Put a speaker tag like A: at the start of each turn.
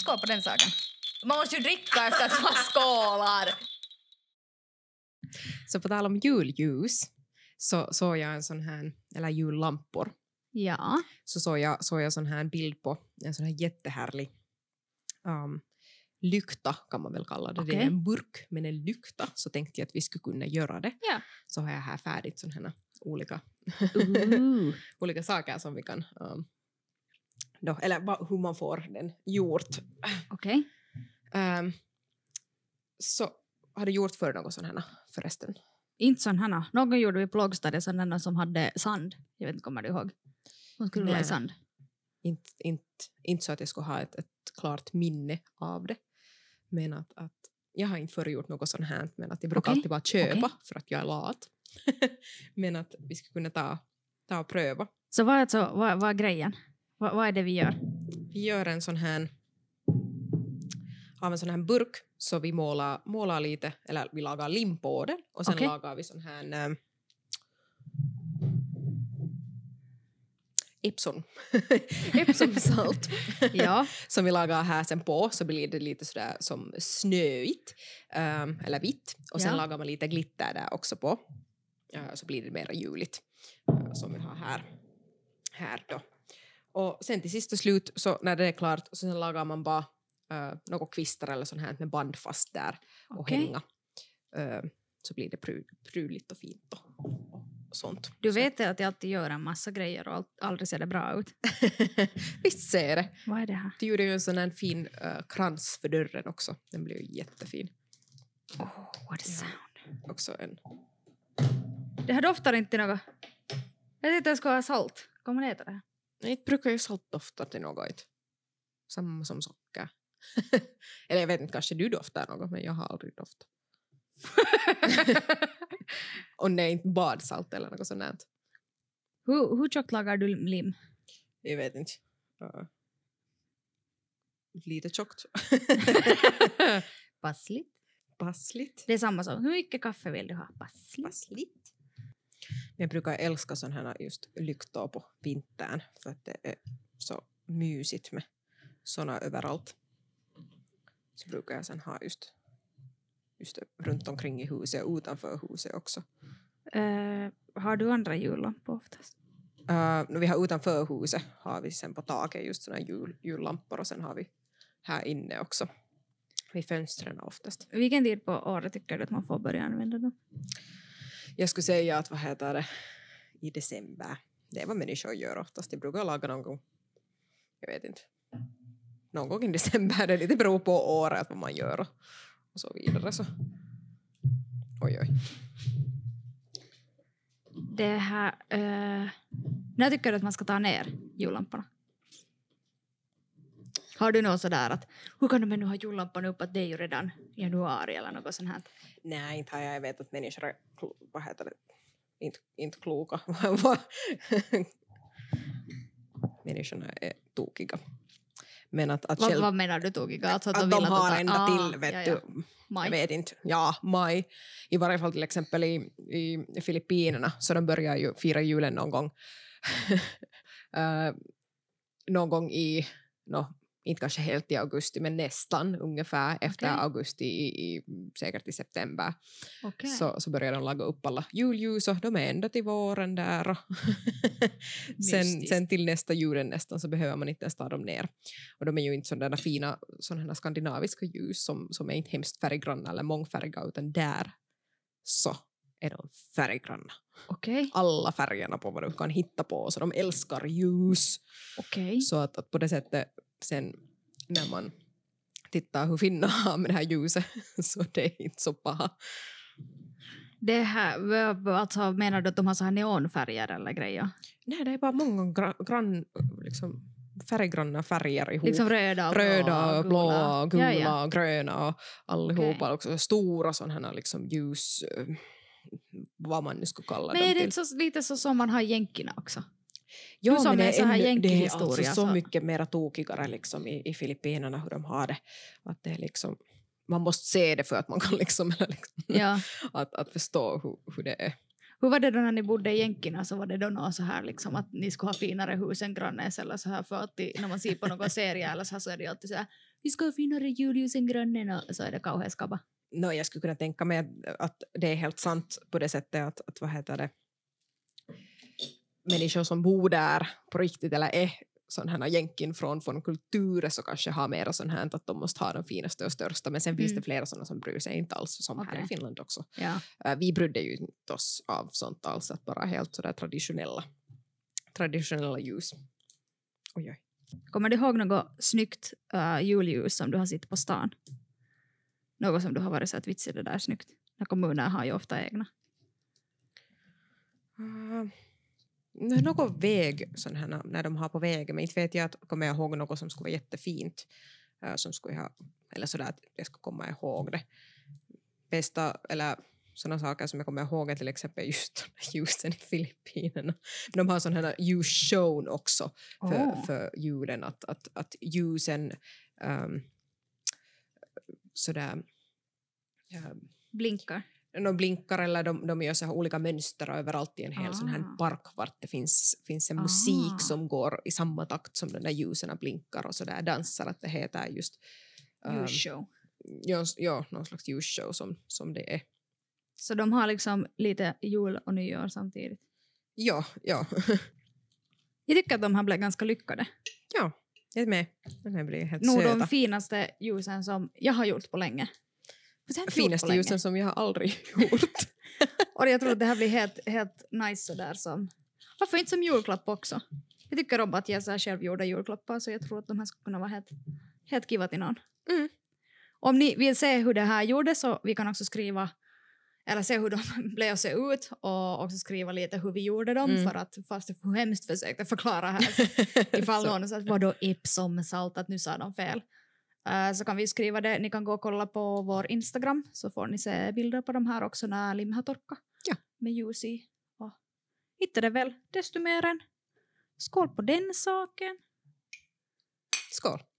A: skål på den saken. Man måste ju dricka efter att man skålar.
B: Så på tal om julljus så såg jag en sån här, eller jullampor,
A: Ja.
B: så såg jag, såg jag sån här bild på en sån här jättehärlig um, lykta kan man väl kalla det. Det är
A: Okej.
B: en burk men en lykta så tänkte jag att vi skulle kunna göra det.
A: Ja.
B: Så har jag här färdigt såna här olika,
A: Ooh.
B: olika saker som vi kan um, då, eller va, hur man får den gjort.
A: Okej.
B: Ehm, så har du gjort för något sån här förresten?
A: Inte sådana. Någon gjorde vi på lågstadiet sådana som hade sand. Jag vet inte, kommer du ihåg? Hon skulle rulla i
B: Nej.
A: sand.
B: inte, inte, inte så att jag skulle ha ett, ett klart minne av det. Men att, att jag har inte förut gjort något sånt här, men att jag brukar
A: Okej,
B: alltid bara köpa
A: okej.
B: för att jag är lat. men att vi skulle kunna ta, ta och pröva.
A: Så vad är, alltså, vad, vad är grejen? Vad, vad är det vi gör?
B: Vi gör en sån här av en sån här burk så vi målar, målar lite, eller vi lagar lim på den och sen
A: Okej.
B: lagar vi sån här ähm, Epson. Epsomsalt.
A: Ja.
B: som vi lagar här sen på så blir det lite sådär som snöigt ehm, eller vitt och sen
A: Ja.
B: lagar man lite glitter där också på Eh, så blir det mera juligt eh, som vi har här, här då. Och sen till sist och slut så när det är klart så sen lagar man bara uh, några kvistar eller sånt här med band fast där och
A: Okej.
B: hänga Eh, så blir det pru, pruligt och fint och, och sånt.
A: Du vet att jag alltid gör en massa grejer och allt- aldrig ser det bra ut.
B: Visst ser det.
A: Vad är det här?
B: Du gjorde ju en sån här fin eh, krans för dörren också. Den blev ju jättefin.
A: Oh, what a sound.
B: också en...
A: Det här doftar inte något. Jag tänkte jag skulle ha salt. Kommer ni äta det här?
B: Nej, inte brukar ju salt dofta till något. Samma som socker. Eller jag vet inte, kanske du doftar något, men jag har aldrig doftat. Och nej, inte badsalt eller något sånt. där.
A: Hur, hur tjockt lagar du lim?
B: Jag vet inte. Ja. Lite tjockt.
A: Passligt.
B: Passligt.
A: Det är samma som hur mycket kaffe vill du ha? Passligt.
B: Passligt. Jag brukar älska sådana här just lyktor på vintern för att det är så mysigt med såna överallt. Så brukar jag sen ha just, just runt omkring i huset och utanför huset också.
A: Eh, har du andra jullampor oftast?
B: Uh, vi har utanför huset har vi sen på taket just såna här jul, jullampor och sen har vi här inne också vid fönstren oftast.
A: Vilken tid på året tycker du att man får börja använda dem?
B: Jag skulle säga att vad heter det, i december. Det är vad människor gör oftast. De brukar laga någon gång, jag vet inte, någon gång i december. Det lite beror på året vad man gör och, och så vidare. Så. Oj, oj.
A: Det här... eh, när tycker du att man ska ta ner jullamporna? Har du något sådär att hur kan de ännu ha jullampan uppe att det är ju redan januari eller något sånt här?
B: Nej, inte har jag. Jag vet att människor är, klo- vad heter det, inte, inte kloka. Vad- vad- Människorna är tokiga. Men att, att,
A: Vad,
B: själv,
A: vad menar du tokiga? Alltså
B: att de
A: vill
B: har
A: tar-
B: ända
A: Ah,
B: till, vet
A: ja,
B: du.
A: ja. Maj.
B: Jag vet inte. Ja, maj. I varje fall till exempel i, i Filippinerna så de börjar ju fira julen någon gång. Eh, någon gång i, no, inte kanske helt i augusti, men nästan ungefär efter
A: Okej.
B: augusti, i, i, säkert i september,
A: Okej.
B: så, så börjar de laga upp alla julljus och de är ända till våren där. och sen,
A: Mystiskt.
B: sen till nästa julen nästan så behöver man inte ens ta dem ner. Och de är ju inte sådana fina sådana skandinaviska ljus som, som är inte hemskt färggranna eller mångfärga utan där så är de färggranna.
A: Okej.
B: Alla färgerna på vad du kan hitta på så de älskar ljus.
A: Okej.
B: Så att, att på det sättet sen när man tittar hur finnar har med det här ljuset så det är inte så paha.
A: Det här, v- v- alltså menar du att de har så här neonfärger eller grejer?
B: Nej, det är bara många gra- grann, liksom, färggranna färger ihop.
A: Liksom röda och
B: Röda, och blåa, och gula,
A: Ja, ja.
B: och gröna och allihopa.
A: Okej.
B: Också stora sådana här liksom, ljus... eh, Vad man nu skulle kalla
A: Men
B: dem
A: är det
B: till.
A: inte så, lite så som man har i jänkina också?
B: Jo,
A: Du sa
B: men
A: med
B: det,
A: så
B: är
A: här
B: ännu, det är alltså
A: jänkihistoria,
B: så
A: så-
B: mycket mera tokigare liksom, i, i Filippinerna hur de har det. Att det är liksom, man måste se det för att man kan liksom, eller liksom,
A: Ja.
B: att, att förstå hur, hur det är.
A: Hur var det då när ni bodde i Jänkkina? Så var det då något så här liksom att ni skulle ha finare hus än grannens eller så här för alltid när man ser på någon serie eller så här så är det alltid så här vi ska ha finare julljus än grannen och så är det kauhean skabba.
B: No, jag skulle kunna tänka mig att, att det är helt sant på det sättet att, att vad heter det, människor som bor där på riktigt eller är sådana jänkin från, från kulturer så kanske har mera sånt här att de måste ha de finaste och största men sen finns
A: Mm.
B: det flera sådana som bryr sig inte alls som här
A: Okej.
B: i Finland också.
A: Ja.
B: Äh, Vi brydde ju inte oss av sånt alls att bara helt sådär traditionella, traditionella ljus. Oj, oj.
A: Kommer du ihåg något snyggt uh, julljus som du har sett på stan? Något som du har varit så att vits är det där snyggt? När kommuner har ju ofta egna.
B: Uh, någon väg sån här, när de har på vägen, men inte vet jag att kommer jag ihåg något som skulle vara jättefint. äh, som skulle ha, eller sådär att jag skulle komma ihåg det. Bästa, eller sådana saker som jag kommer ihåg är till exempel just de här ljusen i Filippinerna. De har sån här ljusshow också för,
A: Åh.
B: för julen, att, att, att ljusen um, sådär ähm,
A: Blinkar.
B: de blinkar eller de, de gör så här olika mönster överallt i en hel sån här
A: Ah.
B: park vart det finns, finns en
A: Ah.
B: musik som går i samma takt som de där ljusen blinkar och så där dansar att det heter just ehm,
A: Ljusshow.
B: ja, s- ja, någon slags ljusshow som, som det är.
A: Så de har liksom lite jul och nyår samtidigt.
B: Ja, ja,
A: Jag tycker att de har blivit ganska lyckade.
B: jag är med. Den här blir helt
A: Nog de
B: söta.
A: finaste ljusen som jag har gjort på länge. Fast jag har inte gjort på
B: Finaste
A: länge.
B: ljusen som jag har aldrig gjort.
A: Och jag tror att det här blir helt, helt nice sådär som... Varför inte som julklapp också? Jag tycker om att ge så här självgjorda julklappar så jag tror att de här skulle kunna vara helt, helt kiva till någon.
B: Mm.
A: Om ni vill se hur det här gjordes så vi kan också skriva eller se hur de blev att se ut och också skriva lite hur vi gjorde dem
B: Mm.
A: för att fast jag hemskt försökte förklara här så Ifall
B: Så,
A: någon sa att vadå Epsom salt, att nu sa de fel. Eh, så kan vi skriva det. Ni kan gå och kolla på vår Instagram så får ni se bilder på de här också när lim har torkat.
B: Ja.
A: Med ljus i. Och hittade väl desto mer än. Skål på den saken.
B: Skål.